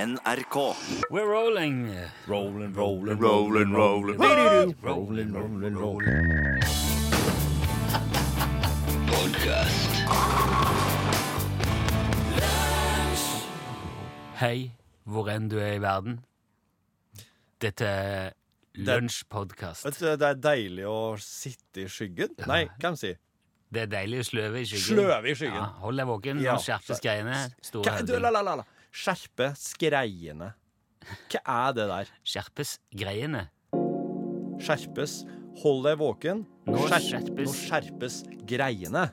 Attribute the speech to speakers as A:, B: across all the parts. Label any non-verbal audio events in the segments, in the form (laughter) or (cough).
A: NRK.
B: We're rolling. Rolling, rolling,
A: rolling, rolling.
B: rolling, rolling, Hei, hvor enn du er i verden. Dette er
C: Vet
B: lunsjpodkast.
C: du, det er deilig å sitte i skyggen. Nei, hvem sier
B: Det er deilig å sløve i skyggen.
C: sløve i skyggen?
B: Ja, hold deg våken,
C: Ja.
B: nå skjerpes greiene. Store
C: Hva- du, la,
B: høvding.
C: la, la, la. Skjerpe skreiene. Hva er det der?
B: Skjerpes greiene.
C: Skjerpes. Hold deg våken.
B: Nå
C: Skjerp-
B: skjerpes-
C: Nå skjerpes
B: (laughs)
C: greiene.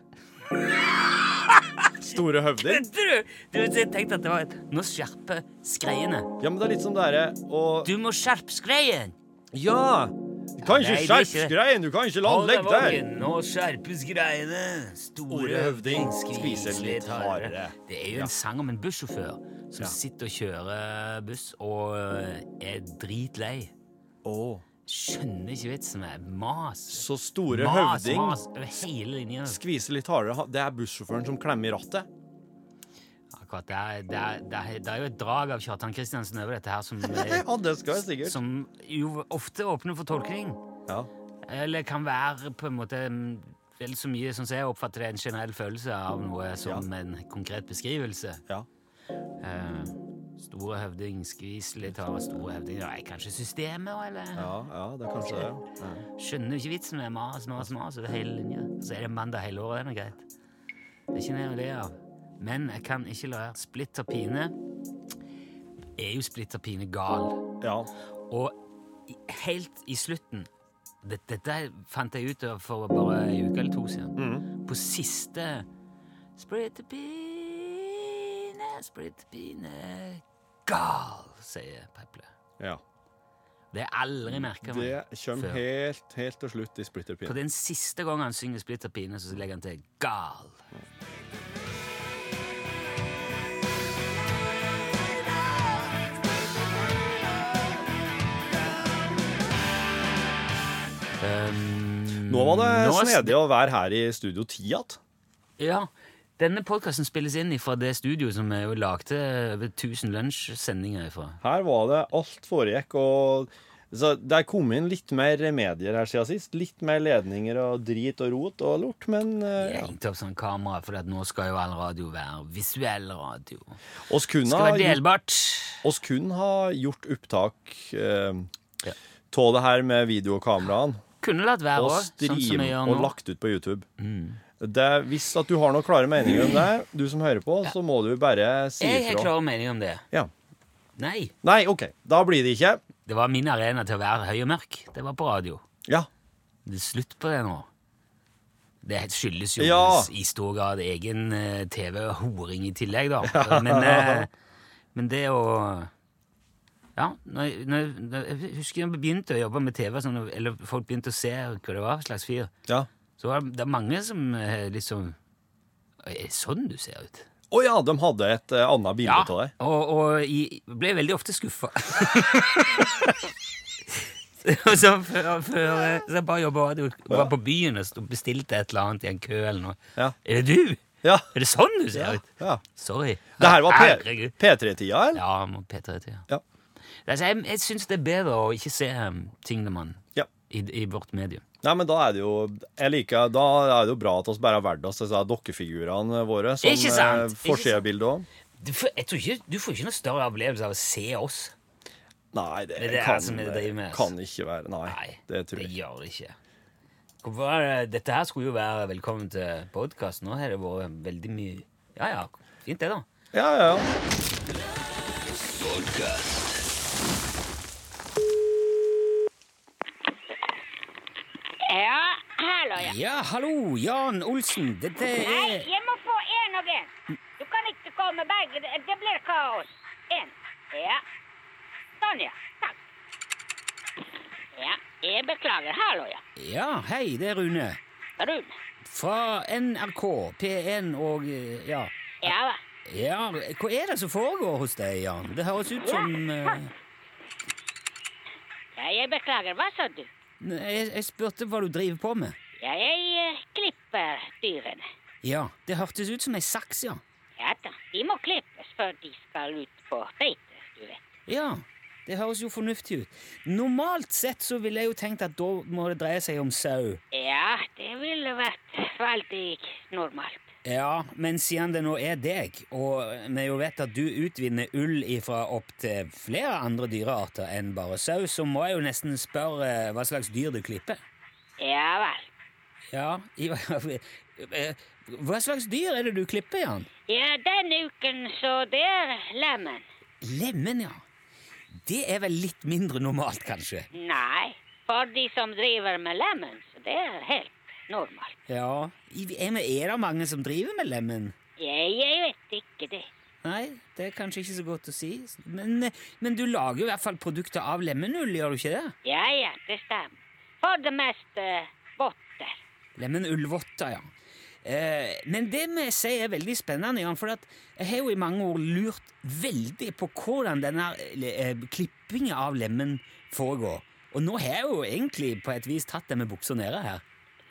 C: Store høvder.
B: Du, du, jeg tenkte at det var et Nå skjerpes greiene.
C: Ja, men det er litt som det derre å
B: Du må skjerpes greien!
C: Ja! Du kan
B: Nei,
C: ikke
B: det er
C: skjerpe
B: ikke det.
C: skreien! Du kan ikke la den ligge der!
B: nå skjerpes greiene. Store
C: Store høvding
B: skvis
C: skviser litt hardere.
B: Det er jo
C: Ja.
B: en sang om en bussjåfør som
C: Ja.
B: sitter og kjører buss og eh, er dritlei.
C: Å,
B: Skjønner ikke vitsen med mas.
C: så store
B: Mas,
C: høvding
B: mas over hele linja.
C: skviser litt hardere. Ha- Det er bussjåføren som klemmer i rattet.
B: Akkurat, det, er, det, er, det, er, det er jo et drag av Kjartan Kristiansen over dette
C: (laughs)
B: her som, eh,
C: Ja, det skal jeg sikkert.
B: som jo ofte åpner for tolkning.
C: Ja.
B: Eller kan være på en måte mm, vel så mye sånn som jeg oppfatter det, en generell følelse av noe som en konkret beskrivelse.
C: ja.
B: Eh, store høvding, skvis litt av store høvding Nei, kanskje systemet, eller?
C: Ja, ja, det er kanskje det.
B: Skjønner jo ikke vitsen med mas, mas, mas over hele linja. Så er det mandag hele året, det er nå greit. Det er ikke noe å le av. Men jeg kan ikke la være. Splitter pine er jo splitter pine gal.
C: Ja.
B: Og i- helt i slutten det- Dette fant jeg ut av for bare en uke eller to siden. På siste Splittepine, splittepine Gal, sier Peple.
C: ja.
B: Det er aldri merka
C: Det
B: meg. før.
C: kommer helt, helt til slutt i
B: På
C: splitterpinn.
B: den siste gangen han synger Splitterpine, så legger han til Gal. Um,
C: Nå var det
B: nå er
C: snedig å være her i Studio 10 igjen.
B: Ja. Denne podkasten spilles inn fra det studioet som jeg jo lagde over 1000 lunsjsendinger ifra.
C: Her var det alt foregikk, og så det er kommet inn litt mer remedier her siden sist. Litt mer ledninger og drit og rot og lort, men eh,
B: Jeg
C: ja.
B: hengte opp sånn kamera, for at nå skal jo all radio være visuell radio.
C: Oss
B: Det
C: kunne
B: skal
C: ha
B: være
C: gjort,
B: delbart.
C: oss kunne ha gjort opptak eh,
B: Ja.
C: av det her med videokameraene.
B: Kunne latt være
C: og
B: òg, sånn som
C: stream
B: jeg gjør
C: og
B: nå. Mm.
C: lagt ut på YouTube. Det, hvis at du har noen klare meninger om det, du som hører på, så må du bare si
B: Jeg har
C: ifra.
B: klare meninger om det.
C: Ja.
B: Nei.
C: Nei, OK. Da blir det ikke.
B: Det var min arena til å være høy og mørk. Det var på radio.
C: Ja.
B: Det er slutt på det nå. Det skyldes jo
C: Ja.
B: i stor grad egen eh, TV-horing i tillegg, da.
C: (laughs)
B: Men, eh, men det å Ja, når, jeg- når, jeg- når, jeg husker jeg begynte å jobbe med TV, sånn, eller folk begynte å se hva det var slags fyr.
C: ja.
B: Så var det, det er mange som eh, liksom «Oi, Er det sånn du ser ut?
C: Å ja, de hadde et eh, annet bilde av deg.
B: og, og i- ble veldig ofte skuffa. (laughs) så før, før eh, så jeg bare jobba radio, var på byen og sto- bestilte et eller annet i en kø eller noe.
C: Ja.
B: Er det du?
C: Ja.
B: Er det sånn du ser ut?
C: ja.
B: Sorry.
C: Det her var P
B: Herregud.
C: P3-tida, eller?
B: Ja, må Peter hete, ja.
C: Ja.
B: Altså, jeg jeg syns det er bedre å ikke se um, tingene man
C: Ja.
B: i, i vårt medium.
C: Nei, men da er det jo jeg liker, Da er det jo bra at oss bare har valgt oss disse dokkefigurene våre som
B: Ikke sant,
C: eh,
B: ikke
C: forsidebilde òg.
B: Du får, jeg tror ikke, du får ikke noe større opplevelse av å se oss.
C: Nei, det,
B: Men det er
C: kan,
B: som vi driver med,
C: kan ikke være Nei,
B: Nei,
C: det tror jeg
B: det gjør det ikke. Hvorfor er det- Dette her skulle jo være velkommen til podkast. Nå har det vært veldig mye Ja ja, fint det, da.
C: Ja, ja, ja.
D: Ja, hallo, ja.
B: Ja, hallo, Jan Olsen. Dette
D: Nei,
B: er
D: jeg må få én og én. Du kan ikke komme begge. det- Det blir kaos. Én. Ja. Sånn, ja. Takk. Ja, jeg beklager. Hallo, ja.
B: Ja, hei, det er Rune.
D: Rune.
B: Fra NRK, P1 og eh, Ja.
D: Ja hva?
B: Ja, hva er det som foregår hos deg, Jan? Det høres ut som eh,
D: Ja, jeg beklager. Hva sa du?
B: jeg, jeg spurte hva du driver på med.
D: Ja, jeg eh, klipper dyrene.
B: Ja, det hørtes ut som ei saks, ja.
D: Ja da, de må klippes før de skal ut på beite.
B: Ja, det høres jo fornuftig ut. Normalt sett så ville jeg jo tenkt at da må det dreie seg om sau.
D: Ja, det ville vært veldig normalt.
B: Ja, men siden det nå er deg, og vi jo vet at du utvinner ull ifra opptil flere andre dyrearter enn bare sau, så må jeg jo nesten spørre hva slags dyr du klipper.
D: Ja vel.
B: Ja, i, eh, Hva slags dyr er det du klipper, Jan?
D: Ja, denne uken så det er lemen.
B: Lemen, ja. Det er vel litt mindre normalt, kanskje?
D: Nei, for de som driver med lemen, så det er helt normalt.
B: Ja. i- Er, men er det mange som driver med lemen?
D: Jeg, jeg vet ikke det.
B: Nei, det er kanskje ikke så godt å si. Men, men du lager jo i hvert fall produkter av lemenull, gjør du ikke det?
D: Ja, ja, det stemmer. For det meste votter.
B: Lemenullvotter, ja. Eh, men det vi sier er veldig spennende, Jan, for at jeg har jo i mange år lurt veldig på hvordan denne eh, klippingen av lemen foregår. Og nå har jeg jo egentlig på et vis tatt det med buksa nede her.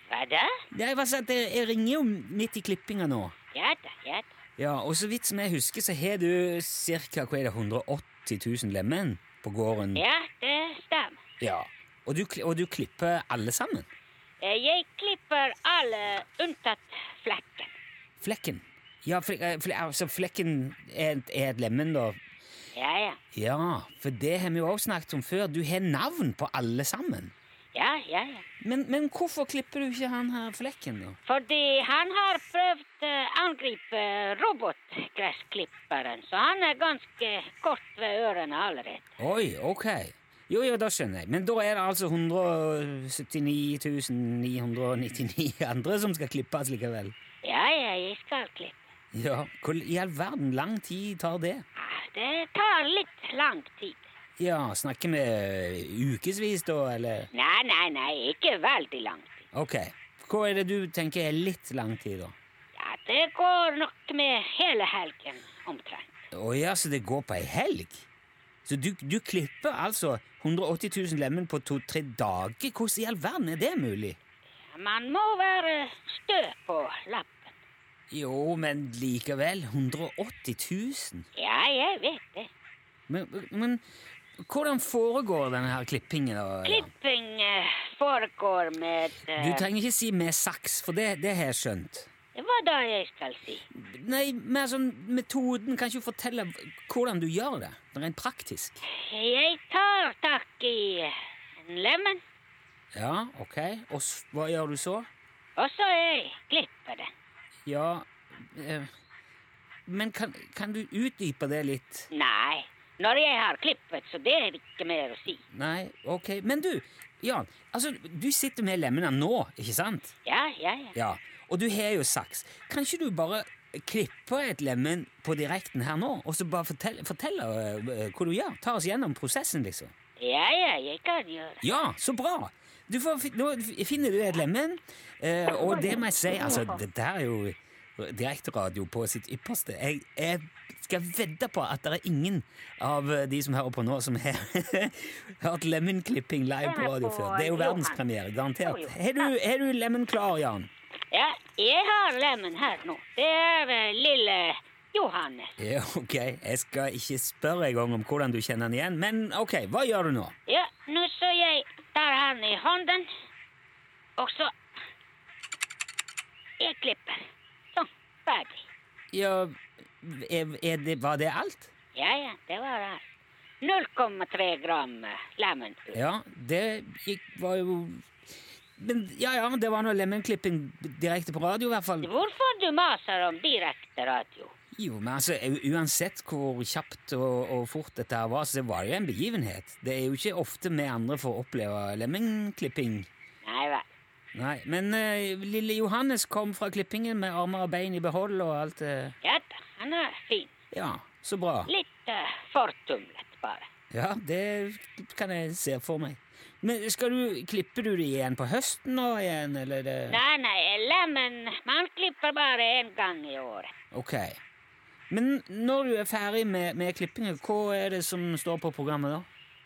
D: Hva da?
B: Det er bare sånn at jeg, jeg ringer jo midt i klippinga nå.
D: Ja da, ja da.
B: Ja, Og så vidt som jeg husker, så har du ca. 180 000 lemen på gården.
D: Ja, det stemmer.
B: Ja. Og du, kli- og du klipper alle sammen?
D: Eh, Jeg klipper alle unntatt flekken.
B: Flekken. Ja, fle, eh, fle, altså flekken er, et- er et lemen, da.
D: Ja, ja.
B: Ja, for det har vi jo også snakket om før. Du har navn på alle sammen.
D: Ja, ja, ja.
B: Men, men hvorfor klipper du ikke han her flekken, da?
D: Fordi han har prøvd å angripe robotgressklipperen, så han er ganske kort ved ørene allerede.
B: Oi, ok. Jo, jo, da skjønner jeg. Men da er det altså 179 999 (laughs) andre som skal klippes likevel.
D: Ja, ja, jeg skal klippe.
B: Ja, Hvor i all verden lang tid tar det?
D: Ah, Det tar litt lang tid.
B: Ja, Snakker vi ukevis, da, eller?
D: Nei, nei, nei, ikke veldig lang tid.
B: Ok. Hva er det du tenker er litt lang tid, da?
D: Ja, det går nok med hele helgen omtrent.
B: Å ja, så det går på ei helg? Så du, du klipper altså 180 000 lemen på to-tre dager? Hvordan i all verden er det mulig?
D: Man må være stø på lappen.
B: Jo, men likevel. 180 000?
D: Ja, jeg vet det.
B: Men, men hvordan foregår denne her klippingen? da? Jan?
D: Klipping eh, foregår med eh,
B: Du trenger ikke si med saks, for det, det har jeg skjønt.
D: Hva da jeg skal si?
B: Nei, mer sånn metoden. Kan ikke du fortelle hvordan du gjør det? Rent praktisk.
D: Jeg tar tak i en lemen,
B: Ja, ok. Og s- hva gjør du så?
D: og så jeg klipper den.
B: Ja eh, Men kan, kan du utdype det litt?
D: Nei, når jeg har klippet, så det er ikke mer å si.
B: Nei, ok. Men du, Jan. Altså, du sitter med lemmene nå, ikke sant?
D: Ja, ja, ja.
B: Ja. Og du har jo saks. Kan ikke du bare klippe et lemen på direkten her nå, og så bare fortelle, fortelle eh, hva du gjør? Ta oss gjennom prosessen, liksom.
D: Ja, ja, jeg kan gjøre det.
B: Ja, så bra! Du får, fi- nå f- finner du et lemen, eh, og det må jeg si, altså, dette er jo direkteradio på sitt ypperste. Jeg, jeg skal vedde på at det er ingen av eh, de som hører på nå, som har (laughs) hørt lemenklipping live på radio før. Det er jo verdenspremiere, garantert. Har du, har du lemen klar, Jan?
D: Ja, jeg har lemen her nå. Det er eh, lille Johannes.
B: Ja, ok. Jeg skal ikke spørre engang om hvordan du kjenner han igjen, men ok, hva gjør du nå?
D: Ja, nå så jeg tar han i hånden, og så Jeg klipper. Sånn, ferdig.
B: Ja, er, er det, var det alt?
D: Ja, ja, det var alt. 0,3 gram eh, lemen.
B: Ja, det gikk, var jo Men ja, ja, det var nå lemenklipping direkte på radio, i hvert fall.
D: Hvorfor du maser om direkte radio?
B: Jo, men altså, u- Uansett hvor kjapt og, og fort dette her var, så var det jo en begivenhet. Det er jo ikke ofte vi andre får oppleve lemenklipping.
D: Nei vel.
B: Nei, Men eh, lille Johannes kom fra klippingen med armer og bein i behold og alt det
D: Ja da, han er fin.
B: Ja, så bra.
D: Litt eh, fortumlet, bare.
B: Ja, det kan jeg se for meg. Men skal du, Klipper du det igjen på høsten nå igjen, eller? eh? Det?
D: Nei, nei, lemen Man klipper bare én gang i året.
B: Ok. Men når du er ferdig med, med klippingen, hva er det som står på programmet da?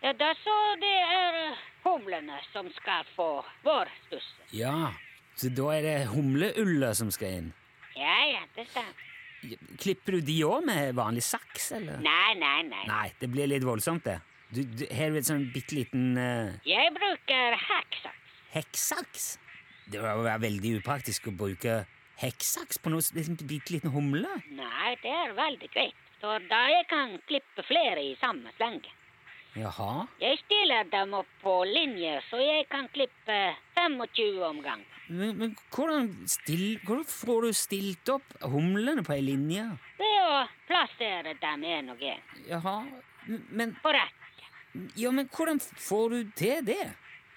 D: Ja, da så det er eh, humlene som skal få vårstussen.
B: Ja, så da er det humleullet som skal inn.
D: Ja ja, det stemmer.
B: Klipper du de òg med vanlig saks, eller?
D: Nei, nei, nei.
B: Nei, det blir litt voldsomt, det. Du, du har du et sånn bitte liten eh,
D: Jeg bruker hacksaks.
B: hekksaks? Det vil være veldig upraktisk å bruke hekksaks på noe s- liksom, bitte liten humle.
D: Nei, det er veldig greit. For da jeg kan klippe flere i samme slenge.
B: Jaha.
D: Jeg stiller dem opp på linje, så jeg kan klippe 25 omganger.
B: Men, men hvordan, still, hvordan får du stilt opp humlene på ei linje?
D: Ved å plassere dem en og en
B: Jaha. Men,
D: på rekke.
B: ja, men hvordan får du til det?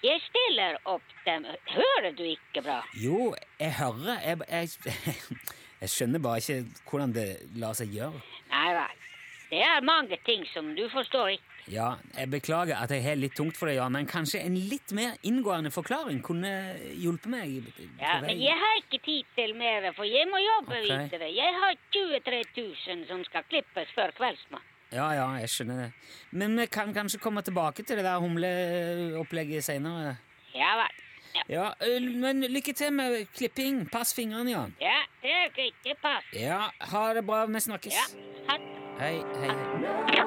D: Jeg stiller opp dem Hører du ikke bra?
B: Jo, jeg hører Jeg, (laughs) jeg, jeg skjønner bare ikke hvordan det lar seg gjøre.
D: Nei vel. Det er mange ting som du forstår ikke.
B: Ja, jeg beklager at jeg har litt tungt for det, ja, men kanskje en litt mer inngående forklaring kunne hjulpet meg? på
D: Ja,
B: vei?
D: men jeg har ikke tid til mer, for jeg må jobbe
B: Ok.
D: videre. Jeg har 23 000 som skal klippes før kveldsmat.
B: Ja, ja, jeg skjønner det. Men vi kan kanskje komme tilbake til det der humleopplegget seinere.
D: Ja vel. Ja,
B: Ja, ø, men lykke til med klipping. Pass fingrene, Jan.
D: ja det er greit. Det passer.
B: Ja, ha det bra. Vi snakkes.
D: Ja. Ha det.
B: Hei, hei, hei.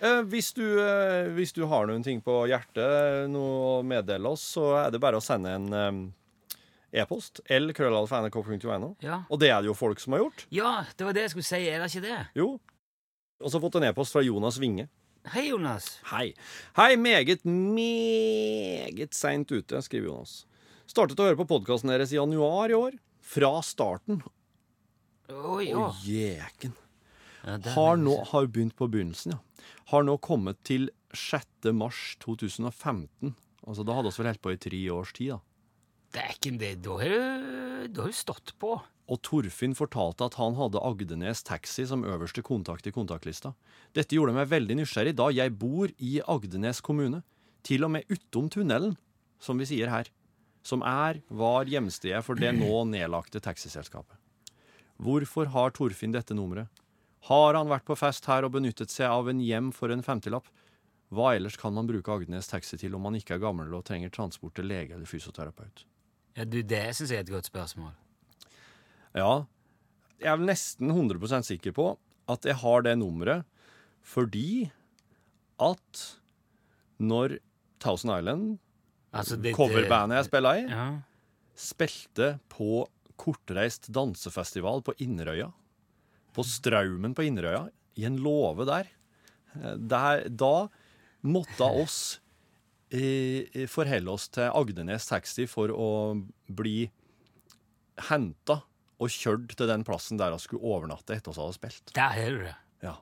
C: Eh, hvis, du, eh, hvis du har noen ting på hjertet noe å meddele oss, så er det bare å sende en eh, e-post. lkrøllalfa.nrk.no.
B: Ja.
C: Og det er det jo folk som har gjort.
B: ja, det var det jeg skulle si. Er det ikke det?
C: Jo. Og så har jeg fått en e-post fra Jonas Winge.
B: Hei, Jonas.
C: Hei. Hei, meget, meget seint ute, skriver Jonas. Startet å høre på podkasten deres i januar i år. Fra starten.
B: Oi,
C: Å,
B: ja.
C: jeken.
B: Ja, det-
C: Har nå har begynt på begynnelsen, ja. Har nå kommet til 6. mars 2015. Altså, da hadde vi vel holdt på i tre års tid, da.
B: Dæken, det, da har du da har du stått på.
C: Og Torfinn fortalte at han hadde Agdenes Taxi som øverste kontakt i kontaktlista. Dette gjorde meg veldig nysgjerrig, da jeg bor i Agdenes kommune. Til og med utom tunnelen, som vi sier her. Som er, var hjemstedet for det nå nedlagte taxiselskapet. Hvorfor har Torfinn dette nummeret? Har han vært på fest her og benyttet seg av en hjem for en femtilapp? Hva ellers kan man bruke Agdenes Taxi til om man ikke er gammel og trenger transport til lege eller fysioterapeut?
B: Ja, du, Det syns jeg er et godt spørsmål.
C: Ja. Jeg er vel nesten 100 sikker på at jeg har det nummeret fordi at når Thousand Island,
B: Altså, det-
C: coverbandet jeg spilla i,
B: Ja.
C: spilte på kortreist dansefestival på Inderøya, på Straumen på Inderøya, i en låve der, eh, der da måtte oss eh, forholde oss til Agdenes Taxi for å bli henta og kjørt til den plassen der vi skulle overnatte etter oss hadde spilt.
B: Der har du det.
C: Ja.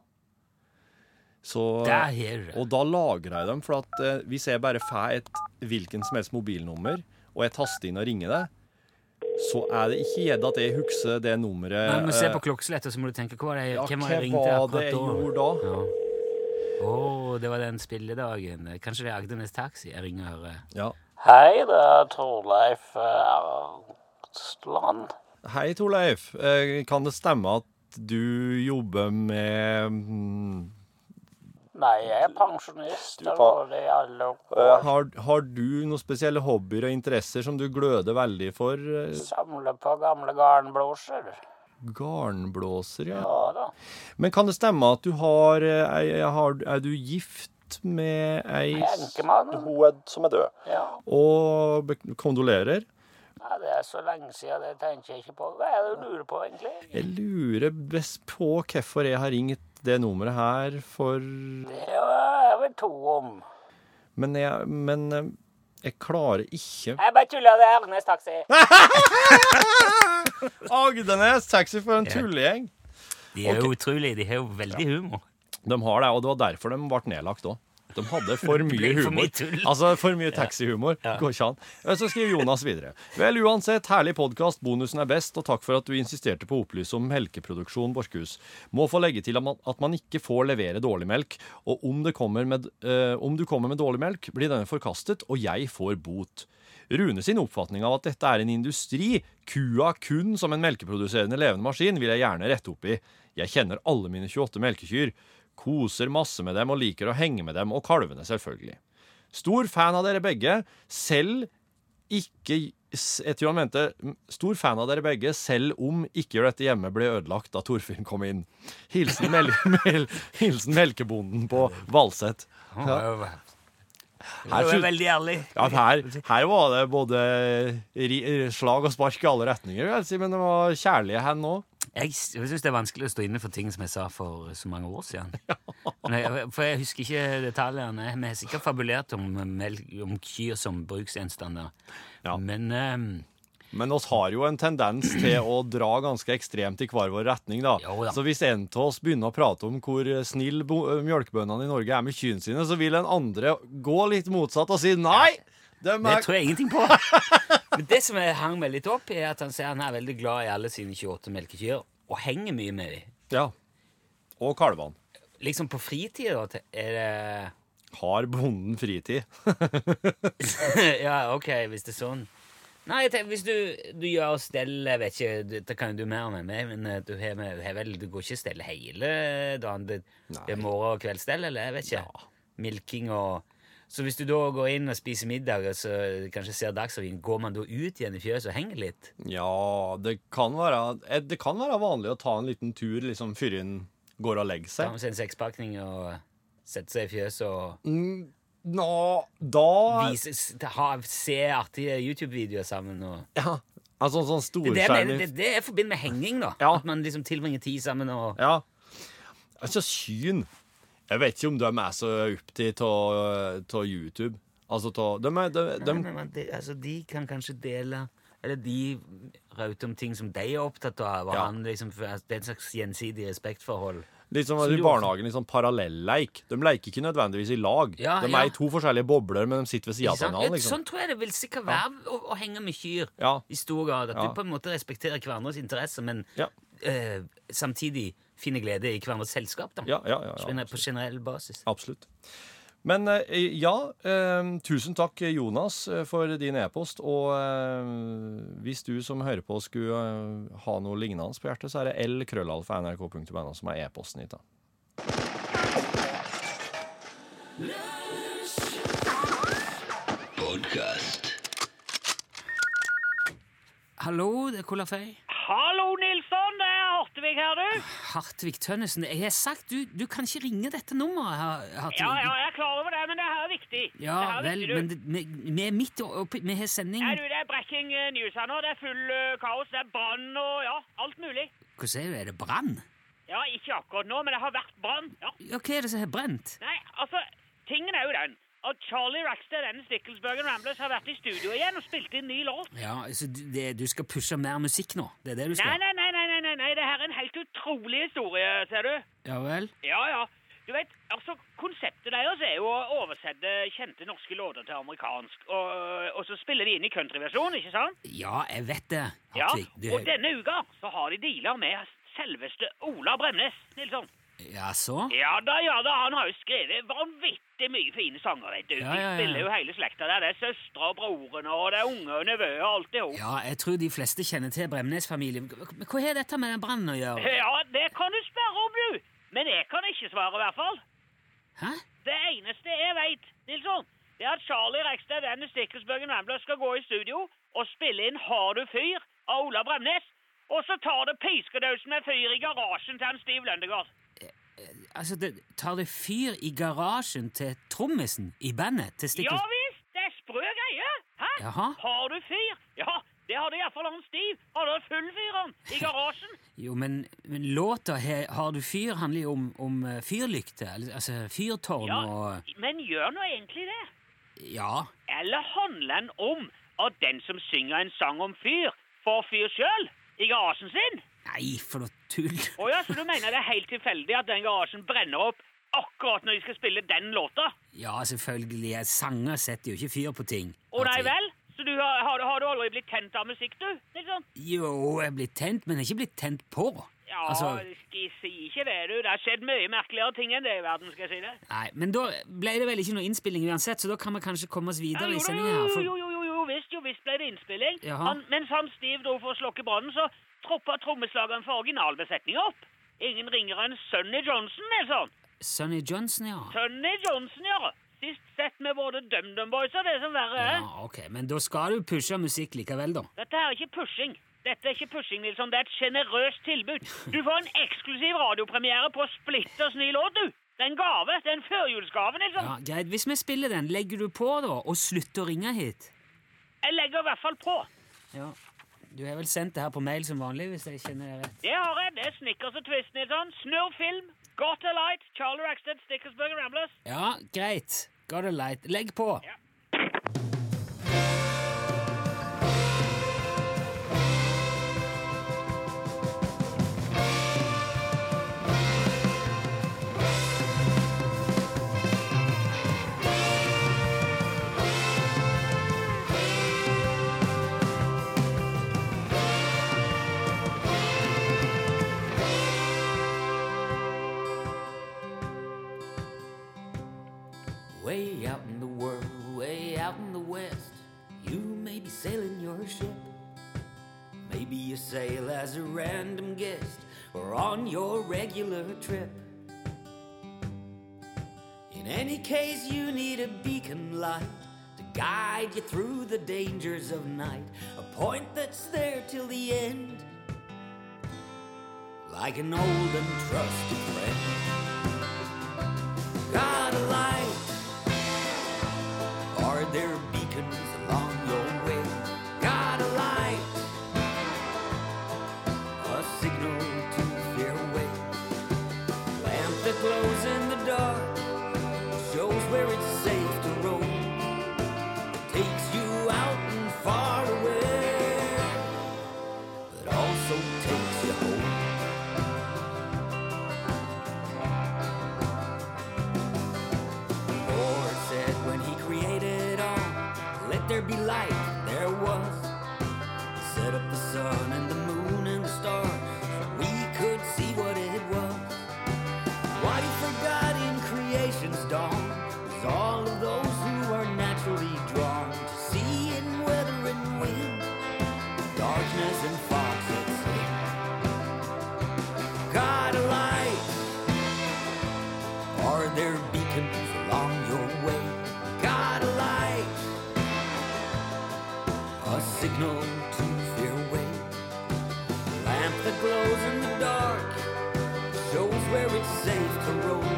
C: Så,
B: Der har du det.
C: og da lagrer jeg dem, for at eh, hvis jeg bare får et hvilken som helst mobilnummer, og jeg taster inn og ringer det, så er det ikke gjedd at jeg husker det nummeret.
B: Men vi se på
C: eh,
B: klokkeslettet, så må du tenke hva var det,
C: ja,
B: hvem har jeg ringt til
C: hva var det
B: akkurat
C: jeg
B: da?
C: gjorde da?
B: Ja. Å, det var den spilledagen. Kanskje det er Agdenes Taxi jeg ringer eh. og hører.
C: Ja.
A: Hei, det er Torleif eh, Erstland.
C: Hei, Torleif. Eh, Kan det stemme at du jobber med mm,
A: Nei, jeg er pensjonist. Det var det i alle år.
C: har, har du noen spesielle hobbyer og interesser som du gløder veldig for? Eh,
A: Samler på gamle garnbloser.
C: Garnblåser, ja.
A: Ja da.
C: Men kan det stemme at du har, eh, ei- har Er du gift med ei
A: Enkemann.
C: Hun er, som er død.
A: Ja.
C: Og be- kondolerer.
A: Nei, det er så lenge siden, det tenker jeg ikke på. Hva er det du lurer på, egentlig?
C: Jeg lurer best på hvorfor jeg har ringt det nummeret her for
A: Det er vel to om.
C: Men jeg, men eh, jeg klarer ikke
A: Jeg bare tuller, det er Agnes Taxi.
C: Agdenes taxi for en tullegjeng!
B: De er jo utrolige. De har jo veldig humor.
C: De har det, og det var derfor de ble nedlagt òg. De hadde (laughs) for mye
B: ble for mye
C: humor.
B: tull.
C: Altså for mye taxihumor. Går ikke an. Og Så skriver Jonas videre. Vel, uansett, herlig podkast, bonusen er best, og takk for at du insisterte på å opplyse om melkeproduksjon, Borchhus. Må få legge til at man, at man ikke får levere dårlig melk, og om, det kommer med, eh, om du kommer med dårlig melk, blir denne forkastet, og jeg får bot. Rune sin oppfatning av at dette er en industri, kua kun som en melkeproduserende levende maskin, vil jeg gjerne rette opp i. Jeg kjenner alle mine 28 melkekyr, koser masse med dem og liker å henge med dem, og kalvene selvfølgelig. Stor fan av dere begge, selv ikke s- jeg tror han mente "M, stor fan av dere begge, selv om ikke gjør dette hjemme ble ødelagt da Torfinn kom inn. Hilsen, mel (laughs) mel hilsen melkebonden på Valset.
B: Han var jo
C: Her,
B: han var
C: skyt-
B: veldig ærlig.
C: ja, her, her var det både ri, slag og spark i alle retninger, vil jeg si, men det var kjærlige hen òg.
B: Jeg, s- jeg syns det er vanskelig å stå inne for ting som jeg sa for så mange år siden. Men jeg, for jeg husker ikke detaljene. Vi har sikkert fabulert om, melk, om kyr som bruksgjenstander.
C: Ja.
B: Men ehm,
C: Men oss har jo en tendens til å dra ganske ekstremt i hver vår retning, da.
B: Jo da.
C: Så hvis en av oss begynner å prate om hvor snill bo- mjølkebøndene i Norge er med kyrne sine, så vil en andre gå litt motsatt og si nei! Dem
B: det
C: er...
B: tror jeg ingenting
C: (laughs)
B: på. Men det som jeg hang meg litt opp i, er at han sier han er veldig glad i alle sine 28 melkekyr, og henger mye med dem.
C: Ja. Og kalvene.
B: Liksom på fritida da, er det
C: Har bonden fritid?
B: (laughs) ja, ok, hvis det er sånn. Nei, jeg tenker, hvis du, du gjør stell Jeg vet ikke, du- det kan jo du mer om enn meg, men eh, du, har, med- har vel, du går ikke stell hele dagen? Det, det er morgen- og kveldsstell, eller? Jeg vet ikke. Milking og Så hvis du da går inn og spiser middag, og så kanskje ser Dagsrevyen, går man da ut igjen i fjøset og henger litt?
C: Ja, det kan være eh, Det kan være vanlig å ta en liten tur liksom før en går og legger
B: Tar
C: seg.
B: med seg en sekspakning og setter seg i fjøset og
C: Mm, Nå, da
B: viser, s- ha, se artige YouTube-videoer sammen og
C: Ja, altså en
B: Det er det
C: sånn
B: jeg
C: storskjerm
B: mener,
C: i-
B: det, det er forbindet med henging, da.
C: Ja.
B: At man liksom tilbringer tid sammen og
C: Ja. Altså, syn Jeg vet ikke om de er så opptatt av YouTube. Altså, ta, de, er, de, de,
B: Nei, men man, de, altså, de kan kanskje dele Eller de rauter om ting som de er opptatt av. Og
C: Ja.
B: han liksom, for- altså, det er et slags gjensidig respektforhold.
C: liksom,
B: Som
C: I
B: du
C: barnehagen liksom parallelleik. De leker ikke nødvendigvis i lag.
B: Ja,
C: de
B: ja.
C: er i to forskjellige bobler, men de sitter ved sida
B: Ikke
C: av
B: sant?
C: hverandre.
B: Ja,
C: Liksom.
B: Sånn tror jeg det vil sikkert være å, å henge med kyr.
C: Ja.
B: I stor grad. At
C: Ja.
B: du på en måte respekterer hverandres interesser, men
C: Ja.
B: eh, samtidig finner glede i hverandres selskap. da.
C: Ja, ja, ja, ja.
B: Gener- På generell basis.
C: Absolutt. Men eh, ja, eh, tusen takk, Jonas, eh, for din e-post. Og eh, hvis du som hører på skulle eh, ha noe lignende på hjertet, så er det lkrøllalfa.nrk.no som er e-posten hit. da.
B: Hallo, det er Kolaføy.
E: Hallo, Nilsson. Det er Hartvig her, du.
B: Hartvig Tønnesen. Jeg har sagt du, du kan ikke ringe dette nummeret. Har- Hartvig.
E: Ja, ja, jeg er klar over det, men det her er viktig. det her
B: Ja
E: er
B: vel,
E: viktig, du.
B: men det, vi, vi er midt oppi Vi har sending
E: Ja, du, det er breaking eh, news her nå. Det er full eh, kaos. Det er brann og ja, alt mulig.
B: Hva sier du, er det brann?
E: Ja, ikke akkurat nå, men det har vært brann. Ja.
B: Ja, hva er det som har brent?
E: Nei, altså, tingen er jo den at Charlie Rackstead and Sticklesbergen Ramblers har vært i studio igjen og spilt inn ny låt.
B: Ja, altså, du- det, du skal pushe mer musikk nå? Det er det du
E: Nei,
B: skal?
E: nei, nei, nei, nei, nei, nei, det her er en helt utrolig historie, ser du.
B: Ja vel?
E: Ja, ja. Du vet, altså, konseptet deres er jo å oversette kjente norske låter til amerikansk, og, og så spiller de inn i countryversjon, ikke sant?
B: Ja, jeg vet det.
E: Ja,
B: Hartvig.
E: og denne uka så har de dealer med selveste Ola Bremnes, Nilsson.
B: Ja, så?
E: Ja da, ja da, han har jo skrevet vanvittig mye fine sanger, vet du.
B: Ja, ja, ja.
E: De spiller jo hele slekta der. Det er søstre og brorene, og det er unge og nevøer og alt det hop.
B: Ja, jeg tror de fleste kjenner til Bremnes-familien. Men hva har dette med den brannen å gjøre?
E: Ja, det kan du spørre om, du. Men jeg kan ikke svare, i hvert fall.
B: Hæ?
E: Det eneste jeg veit, Nilsson, det er at Charlie Rekstad, Dennis Stickelsbergen Rambler skal gå i studio og spille inn Har du fyr? av Ola Bremnes. Og så tar det piskedausen med fyr i garasjen til han Stiv Løndegård.
B: Altså, det, tar det fyr i garasjen til trommisen i bandet? Til
E: Ja
B: Stickles...
E: visst, det er sprø greier. Hæ?
B: Jaha.
E: Har du fyr? Ja, det hadde iallfall han Stiv. Han hadde full fyr, han, i garasjen.
B: Jo, men, men låta he, 'Har du fyr' handler jo om, om eh, fyrlykter. eller- Altså fyrtårn
E: Ja,
B: og
E: men gjør nå egentlig det.
B: Ja.
E: Eller handler den om at den som synger en sang om fyr, får fyr sjøl? I garasjen sin?
B: Nei, for noe tull.
E: Å ja, så du mener det er helt tilfeldig at den garasjen brenner opp akkurat når de skal spille den låta?
B: Ja, selvfølgelig. Sanger setter jo ikke fyr på ting.
E: Å nei
B: Hartvig.
E: vel? Så du har, har, du- har du aldri blitt tent av musikk, du? Liksom?
B: Jo, jeg er blitt tent, men jeg er ikke blitt tent på.
E: Ja,
B: Altså,
E: skal jeg si ikke det, du. Det har skjedd mye merkeligere ting enn det i verden, skal jeg si det.
B: nei, men da ble det vel ikke noe innspilling uansett, så da kan vi kanskje komme oss
E: Ja,
B: videre
E: jo,
B: i
E: da,
B: sendinga
E: jo,
B: her.
E: jo,
B: For,
E: jo, jo, jo, visst, jo visst ble det innspilling.
B: Jaha.
E: Han, mens han Steve dro for å slokke brannen, så troppa trommeslageren for originalbesetninga opp. Ingen ringere enn Sonny Johnson, Nilsson.
B: Sonny Johnson, ja.
E: Sonny Johnson, ja. faktisk sett med både DumDum Boys og det som verre er.
F: Ja, ok. Men da skal du pushe musikk likevel, da.
E: Dette her er ikke pushing. Dette er ikke pushing, Nilsson. Det er et sjenerøst tilbud. Du får en eksklusiv radiopremiere på splitters ny låt, du. Det er en gave. Det er en førjulsgave, Nilsson.
F: Ja, Greit, hvis vi spiller den, legger du på da, og slutter å ringe hit?
E: Jeg legger i hvert fall på.
F: Ja. Du har vel sendt det her på mail som vanlig, hvis jeg kjenner det rett?
E: Det har jeg. Det er Snickers og Twist, Nilsson. Snurr film. Got a light. Charlie Rackstead, Stickersburger Ramblers.
F: Ja, greit. Got a light. Legg på.
E: Ja.
F: Way out in the world, way out in the west, you may be sailing your ship. Maybe you sail as a random guest or on your regular trip. In any case, you need a beacon light to guide you through the dangers of night, a point that's there till the end, like an old and trusted friend. Got a light. Are there beacons along your way? Got a light, a signal to steer away. Lamp that glows in the dark shows where it's safe to roam. Takes you out and far away, but also takes you home. Lord said when he created all, let there be light, there was. Set up the sun and the moon and the stars, so we could see what it was. What he forgot in creation's dawn is all of those who are naturally drawn to seeing weather and wind, darkness and fox and sin. God a light. Are there beacons along your way? Got a light, a signal to steer away. Lamp that glows in the dark shows where it's safe to roam.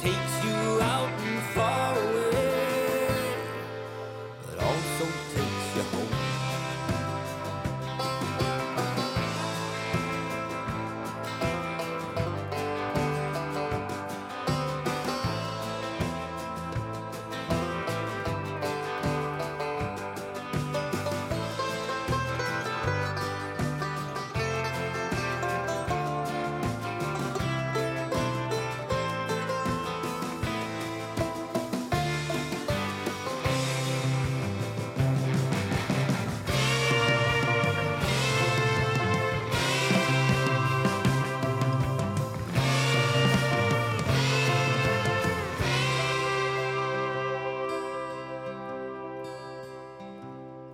F: Takes you out and far away, but also takes you home.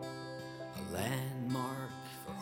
F: A landmark for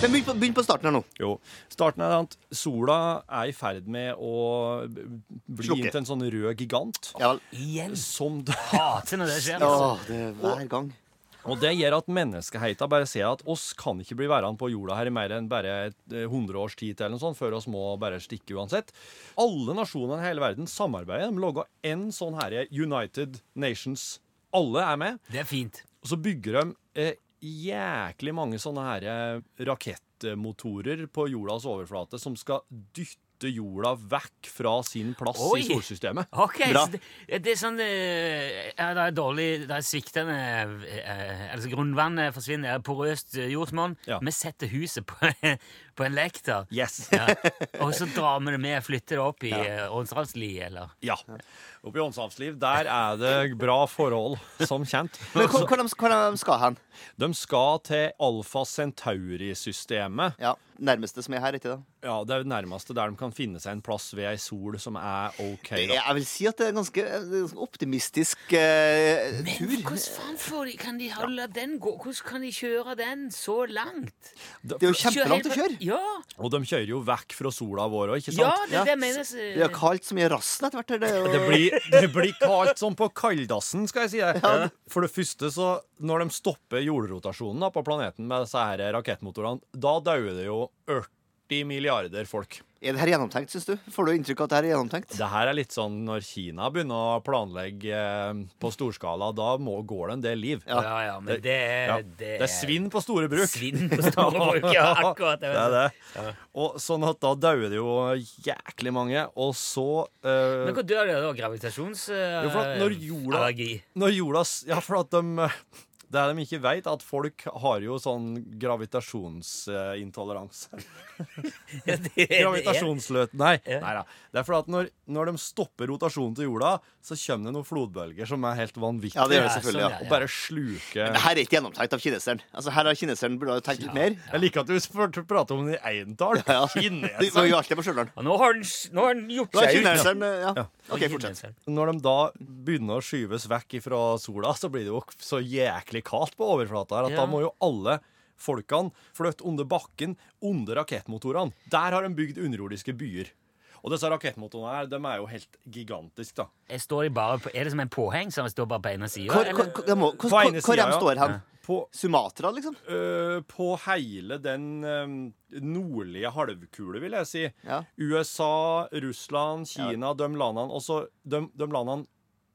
G: Men begynn på, begynn på starten her nå.
C: Jo. Starten er at sola er i ferd med å b- bli
G: Slukke.
C: inn til en sånn rød gigant.
G: Ja vel.
B: Igjen!
C: Som da
B: Hater når det skjer. altså.
G: Åh, det er hver gang.
C: Og det gjør at menneskeheita bare ser at oss kan ikke bli værende på jorda her i mer enn bare et, eh, 100 års tid til eller noe sånt, før oss må bare stikke uansett. Alle nasjonene i hele verden samarbeider. De lager en sånn her United Nations. Alle er med.
B: Det er fint.
C: Og så bygger de eh, jæklig mange sånne her eh, rakettmotorer på jordas overflate som skal dytte jorda vekk fra sin plass
B: Oi!
C: i solsystemet.
B: Ok,
G: Bra.
B: så det, det er sånn eh, ja, Det er dårlig Det er sviktende eh, Altså grunnvannet forsvinner. Det er porøst eh, jordsmonn.
C: Ja.
B: Vi setter huset på, (laughs) på en lekter.
C: Yes!
B: Ja. Og så drar vi det med, flytter det opp i ja. Åndsalsliet, eller
C: Ja. Oppe i Åndshavsliv, der er det bra forhold, som kjent.
G: Men hvor, hvor, de, hvor de skal hen?
C: De skal til Alfa Centauri-systemet.
G: Ja, Nærmeste som er her, ikke det?
C: Ja, Det er det nærmeste der de kan finne seg en plass ved ei sol som er OK.
G: Jeg,
C: da.
G: jeg vil si at det er en ganske, det er en ganske optimistisk eh, tur.
B: Hvordan faen får de, kan de holde den gå? Hvordan kan de kjøre den så langt?
G: Det er jo kjempelangt å kjøre.
B: Ja,
C: Og de kjører jo vekk fra sola vår òg, ikke
B: ja
C: sant?
B: det er det jeg
G: Vi har
B: mener.
G: kalt så mye rassen etter hvert. her, Det, er jo-
C: Det blir, (laughs) det blir kaldt som på kalddassen, skal jeg si deg. For det første, så når de stopper jordrotasjonen da, på planeten med disse her rakettmotorene, da dauer det jo 40 milliarder folk.
G: Er det her gjennomtenkt, syns du? Får du inntrykk av at det her er gjennomtenkt?
C: Det her er litt sånn når Kina begynner å planlegge eh, på storskala, da må, går det en del liv.
G: Ja.
B: Ja, ja, men det er
C: Ja.
B: Det
C: Det er svinn på store bruk.
B: Svinn på store bruk, ja, akkurat.
C: Det er det. Og sånn at da dauer det jo jæklig mange, og så eh,
B: Men hvor dør det da? Gravitasjons... eh,
C: Jo, for at når jorda-
B: allergi?
C: Når jorda s- Ja, for at de Det er de ikke vet, at folk har jo sånn
B: (laughs)
C: gravitasjonsintoleranse.
B: Ja, (laughs) det- det er-
C: Gravitasjonsløt... Nei,
B: Ja.
C: nei da. Det er fordi at når, når de stopper rotasjonen til jorda, så kommer det noen flodbølger som er helt vanvittige.
G: Ja, det gjør
B: Ja,
G: det selvfølgelig.
B: sånn,
G: ja.
B: ja.
C: Og bare sluker
G: Det her er ikke gjennomtenkt av kineseren. Altså, her har kineseren burde ha tenkt litt mer.
C: Jeg liker at du spør- prater om det i eintall.
G: Ja. (laughs) Vi må
C: Kineser.
G: jo alltid på Stjørdal.
C: Altså,
B: Og nå har den, s- nå har den gjort
G: Da er
B: seg ut.
G: kineseren eh, Ja. OK, fortsett.
C: Når de da begynner å skyves vekk fra sola, så blir det jo så jæklig kaldt på overflata her at
B: Ja.
C: da må jo alle folkene flytte under bakken, under rakettmotorene. Der har de bygd underjordiske byer. Og disse rakettmotorene her, de er jo helt gigantiske, da.
B: Jeg står de bare på, er det som en påheng som står bare på ene sida?
G: Hvor, hvor, hvor, hvor, hvor, hvor,
C: ene
G: hvor
C: siden,
G: de
C: ja.
G: står hen?
C: På,
G: Sumatra, liksom?
C: øh, på hele den øhm, nordlige halvkule, vil jeg si.
G: Ja.
C: USA, Russland, Kina, de landene også de, de landene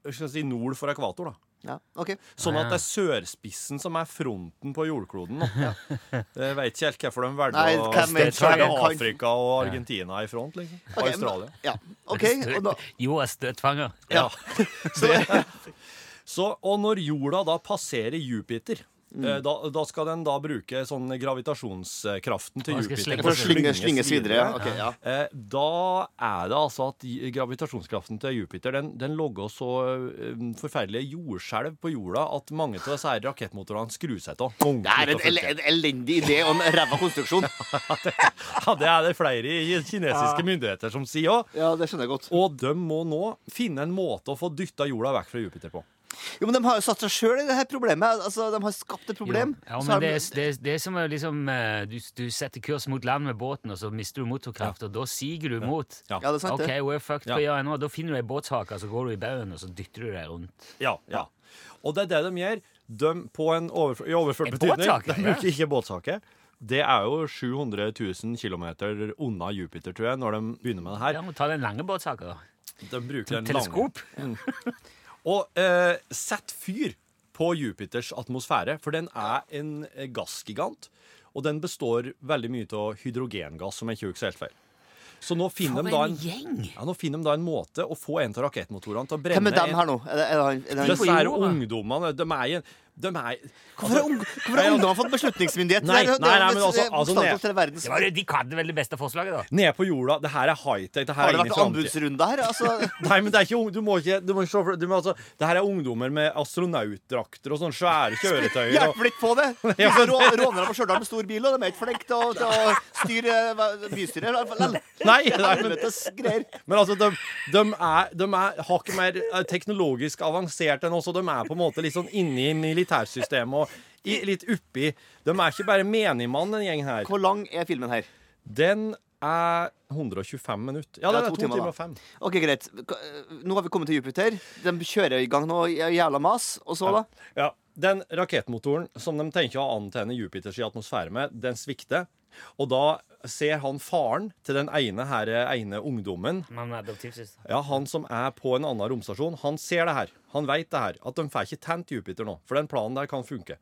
C: jeg skal si, nord for ekvator, da.
G: Ja, OK.
C: Sånn at det er sørspissen som er fronten på jordkloden. Da. (laughs) Jeg vet ikke helt hvorfor de valgte
G: Nei,
C: å
G: hvem vet
C: støtte
B: hva
G: de kan-
C: Afrika og Argentina i front, liksom. Og
G: Ok,
C: Australia. (laughs)
G: men- Ja, OK. Og da,
B: Jo, er støtfanger.
C: Ja. Så, og når jorda da passerer Jupiter
G: Mm.
C: eh, Da, da skal den da bruke sånn gravitasjonskraften til
B: Den skal
C: Jupiter.
B: slenge-
G: for å slynge, slynges videre. Ja. Ok, ja.
C: Eh, Da er det altså at i- gravitasjonskraften til Jupiter Den, den logger så eh, forferdelige jordskjelv på jorda at mange av disse her rakettmotorene skrur seg av.
G: Det er en, el en elendig idé og en ræva konstruksjon.
C: Ja, det er det flere i- kinesiske myndigheter som sier òg.
G: (laughs) Ja, det skjønner jeg godt.
C: Og de må nå finne en måte å få dytta jorda vekk fra Jupiter på.
G: Jo, men De har jo satt seg sjøl i det her problemet. Altså, De har skapt et problem.
B: Ja,
G: Så
B: men
G: har
B: det,
G: de-
B: er- det, er- det er som å liksom eh, du, du setter kurs mot land med båten, og så mister du motorkraft, og da siger du mot.
C: Ja.
G: ja, det er sant,
B: OK,
G: det.
B: we're fucked.
C: Ja.
B: Hva gjør jeg nå? Da finner du ei båthake, så går du i baugen, og så dytter du deg rundt.
C: Ja, ja. Og det er det de gjør. De på en overf I overført
B: En
C: betydning.
B: båthake,
C: de
B: ja.
C: bruker ikke båthake. Det er jo 700 000 km unna Jupiter, tror jeg, når de begynner med det her.
B: Ja, må ta den lange båthaka, da.
C: De bruker den lange.
B: Teleskop.
C: Og eh, sett fyr på Jupiters atmosfære, for den er en eh, gassgigant. Og den består veldig mye av hydrogengass, som jeg ikke husker helt feil. Så nå finner,
B: For
C: de da
B: en
C: en,
B: gjeng!
C: ja, nå finner de da en måte å få en av rakettmotorene til å brenne
G: Hvem er dem
C: en-
G: her nå? Er det, er det, han- er det,
B: på
G: han-
C: Disse her
B: jorda, da?
C: ungdommene de er altså, i en, De er
G: Hvorfor har ung- hvorfor har ungdom fått beslutningsmyndighet?
C: Nei, nei,
G: Det er- det er-
C: nei, men
G: det er-
C: altså-
G: det er
C: altså,
G: bokstavelig
C: ned-
G: talt hele verden
B: Det
G: som-
B: var, jo- de kan vel det beste forslaget, da.
C: Nede på jorda. Det her er high-tech. Det her
G: Har
C: er
G: det
C: inn i
G: vært
C: framtiden.
G: anbudsrunde her?
C: (laughs)
G: Altså,
C: Nei, men det er ikke ung, du må ikke, du må ikke se for- du må, altså, Det her er ungdommer med astronautdrakter og sånne svære kjøretøyer. Og,
G: Hjelper litt på det!
C: (laughs) Ja, men-
G: Rå- Rånere på Stjørdal med stor bil, og de er ikke flinke til å, til å styre eh, hva- bystyret. i hvert fall.
C: (laughs) nei, nei, men,
G: Helvetes greier.
C: men altså, de, de, er, de er hakket mer eh, teknologisk avansert enn oss, og de er på en måte litt sånn inni militærsystemet og i, litt oppi. De er ikke bare menigmann, den gjengen her.
G: Hvor lang er filmen her?
C: Den er 125 minutter. Ja,
G: Ja,
C: det er
G: to
C: to
G: timer,
C: timer
G: da.
C: og fem.
G: Ok, greit. K- eh, Nå har vi kommet til Jupiter. De kjører i gang noe j- jævla mas. Og så, da?
C: Ja, Den rakettmotoren som de tenker å antenne Jupiters i atmosfære med, den svikter. Og da ser han faren til den ene, her, eh, ene ungdommen,
B: Men eh, adoptivsøster.
C: ja, han som er på en annen romstasjon, han ser det her. Han veit det her. At de får ikke tent Jupiter nå. For den planen der kan funke.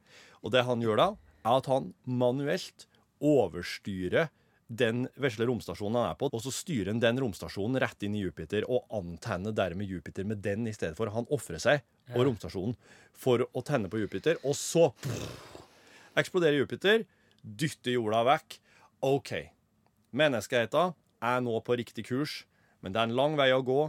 C: Og det han gjør da, er at han manuelt overstyrer den vesle romstasjonen han er på, og så styrer han den romstasjonen rett inn i Jupiter og antenner dermed Jupiter med den i stedet for. Han ofrer seg og romstasjonen for å tenne på Jupiter, og så eksploderer Jupiter, dytter jorda vekk. OK. Menneskeheten er nå på riktig kurs, men det er en lang vei å gå,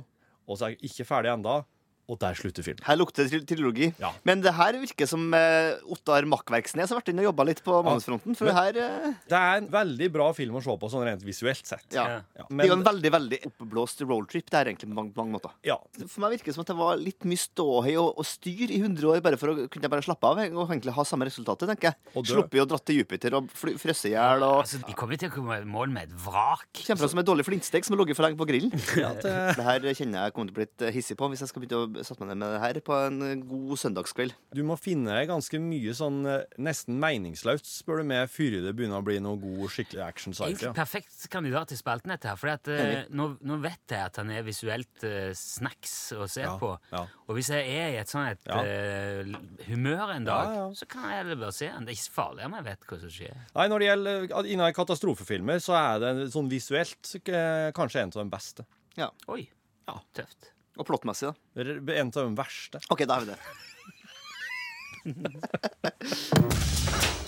C: og så er jeg ikke ferdig enda, og der slutter filmen.
G: Her lukter det tril- trilogi.
C: Ja.
G: Men det her virker som eh, Ottar Makkverksnes har vært inne og jobba litt på manusfronten. For det her eh,
C: Det er en veldig bra film å se på sånn rent visuelt sett.
G: ja.
B: Ja.
C: Ja,
G: Det er jo
C: men,
G: en veldig veldig oppblåst roadtrip. Det her egentlig på mange, på mange måter
C: ja,
G: For meg virker det som at det var litt mye ståhei og, og styr i 100 år, bare for å kunne jeg bare slappe av og egentlig ha samme resultatet, tenker
C: Og
G: jeg.
C: dø.
G: Sluppet å dra til Jupiter og fly- fryse i hjel og
B: Altså, de kommer til å komme i mål med et vrak.
G: Kjemper som et dårlig flintstek som har ligget for lenge på grillen.
C: ja, det,
G: Det her kjenner jeg kommer til å bli litt eh, hissig på hvis jeg skal begynne å sette meg ned med det her på en eh, god søndagskveld.
C: du må finne deg ganske mye sånn eh, nesten meningsløst, spør du meg, før det begynner å bli noe god, skikkelig action-sci-fi.
B: Egentlig
C: Ja.
B: perfekt kandidat til spalten dette her, for at, eh, nå, nå vet jeg at han er visuelt eh, snacks å se
C: Ja,
B: på.
C: ja.
B: Og hvis jeg er i et sånt et,
C: Ja.
B: eh, humør en dag,
C: Ja, ja.
B: så kan jeg heller bare se han. Det er ikke så farlig om jeg vet hva som skjer.
C: Nei, når det gjelder eh, innen katastrofefilmer, så er det sånn visuelt eh, kanskje en av de beste.
G: Ja.
B: Oi,
C: Ja.
B: tøft.
G: Og plottmessig, da.
C: Eller En av de verste.
G: OK, da har vi det.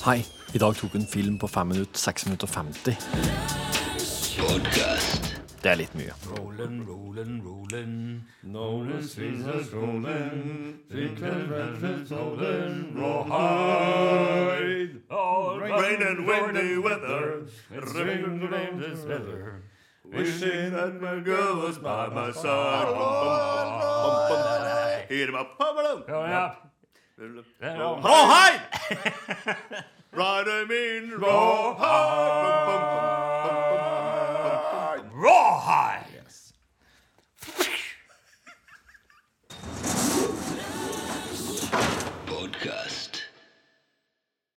C: Hei, i dag tok en film på 5 minutter, 6 minutter og 50. Det er litt mye.
B: Rollen, rollen, rollen.
C: Å, hei!
F: Ride 'em in, roll